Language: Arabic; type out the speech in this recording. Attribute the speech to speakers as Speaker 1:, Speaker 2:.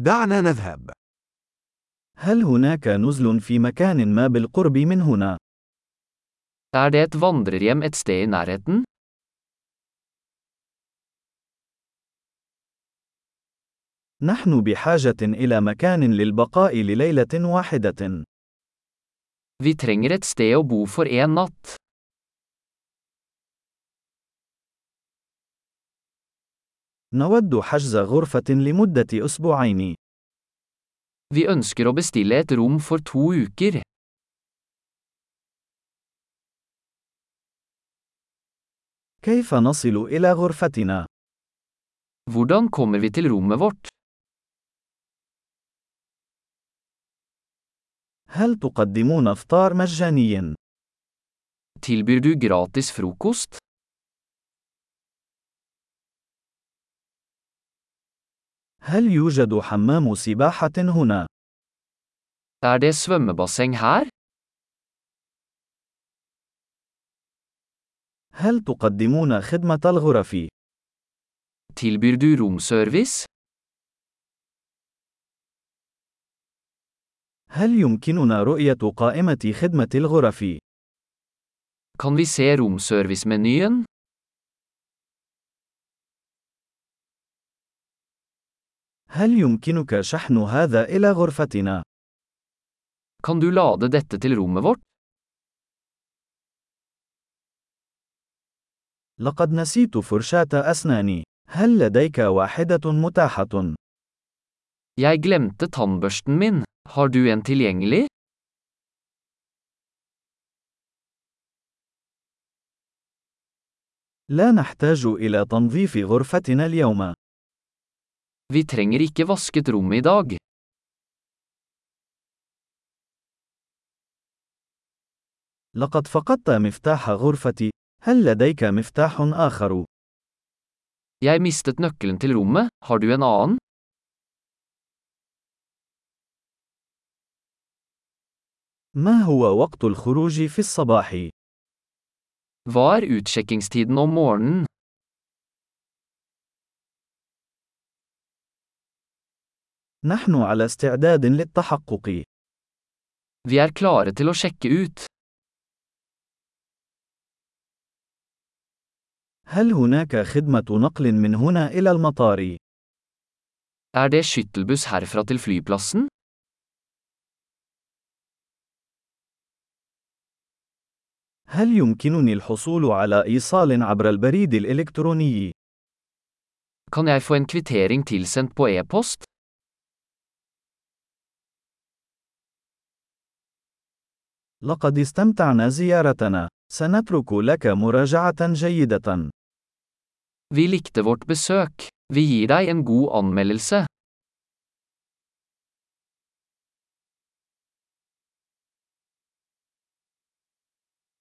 Speaker 1: دعنا نذهب.
Speaker 2: هل هناك نزل في مكان ما بالقرب من هنا؟
Speaker 3: Er det et vandrerhjem et sted i nærheten?
Speaker 2: نحن بحاجة إلى مكان للبقاء لليلة واحدة.
Speaker 3: Vi trenger et sted å bo for én natt.
Speaker 2: نود حجز غرفة لمدة أسبوعين.
Speaker 3: Vi ønsker å bestille et rom for to uker.
Speaker 2: كيف نصل إلى غرفتنا؟
Speaker 3: Hvordan kommer vi til rommet vårt?
Speaker 2: هل تقدمون إفطار مجاني؟
Speaker 3: Tilbyr du gratis frokost?
Speaker 2: هل يوجد حمام سباحة هنا؟
Speaker 3: Er det svømmebasseng her?
Speaker 2: هل تقدمون خدمة الغرف؟
Speaker 3: Tilbyr du romservice?
Speaker 2: هل يمكننا رؤية قائمة خدمة الغرف؟
Speaker 3: Kan vi se romservice-menyen?
Speaker 2: هل يمكنك شحن هذا إلى غرفتنا؟
Speaker 3: Kan du lade dette til rommet vårt?
Speaker 2: لقد نسيت فرشاة أسناني. هل لديك واحدة متاحة؟
Speaker 3: Jeg glemte tannbørsten min. Har du en tilgjengelig?
Speaker 2: لا نحتاج إلى تنظيف غرفتنا اليوم.
Speaker 3: Vi trenger ikke vasket rommet i dag.
Speaker 2: لقد فقدت مفتاح غرفتي. هل لديك مفتاح آخر؟
Speaker 3: Jeg mistet nøkkelen til rommet, har du en annen?
Speaker 2: ما هو وقت الخروج في الصباح؟
Speaker 3: Hva er utsjekkingstiden om morgenen?
Speaker 2: نحن على استعداد للتحقق.
Speaker 3: Vi er klare til å sjekke ut.
Speaker 2: هل هناك خدمة نقل من هنا إلى المطار؟
Speaker 3: Er det skyttelbuss herfra til flyplassen?
Speaker 2: هل يمكنني الحصول على إيصال عبر البريد الإلكتروني؟
Speaker 3: Kan jeg få en kvittering tilsendt på e-post?
Speaker 2: لقد استمتعنا زيارتنا. سنترك لك مراجعة جيدة.
Speaker 3: Vi likte vårt besøk. Vi gir deg en god anmeldelse.